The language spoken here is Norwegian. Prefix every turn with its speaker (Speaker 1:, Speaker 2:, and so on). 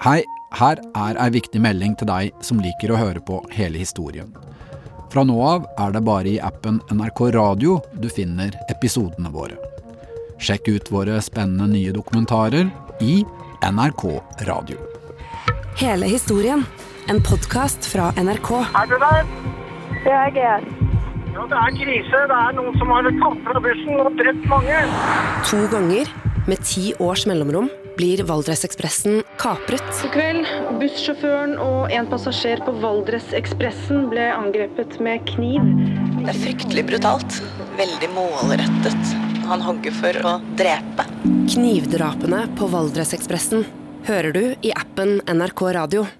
Speaker 1: Hei, her er ei viktig melding til deg som liker å høre på hele historien. Fra nå av er det bare i appen NRK Radio du finner episodene våre. Sjekk ut våre spennende nye dokumentarer i NRK Radio.
Speaker 2: Hele historien. En podkast fra NRK.
Speaker 3: Er du der?
Speaker 4: Det er GS.
Speaker 3: Ja, det er krise. Det er noen som har tatt fra bussen og drept mange.
Speaker 2: To ganger, med ti års mellomrom, blir Valdresekspressen kapret.
Speaker 5: I kveld, bussjåføren og en passasjer på Valdresekspressen ble angrepet med kniv.
Speaker 6: Det er fryktelig brutalt. Veldig målrettet. Han hogger for å drepe.
Speaker 2: Knivdrapene på Valdresekspressen hører du i appen NRK Radio.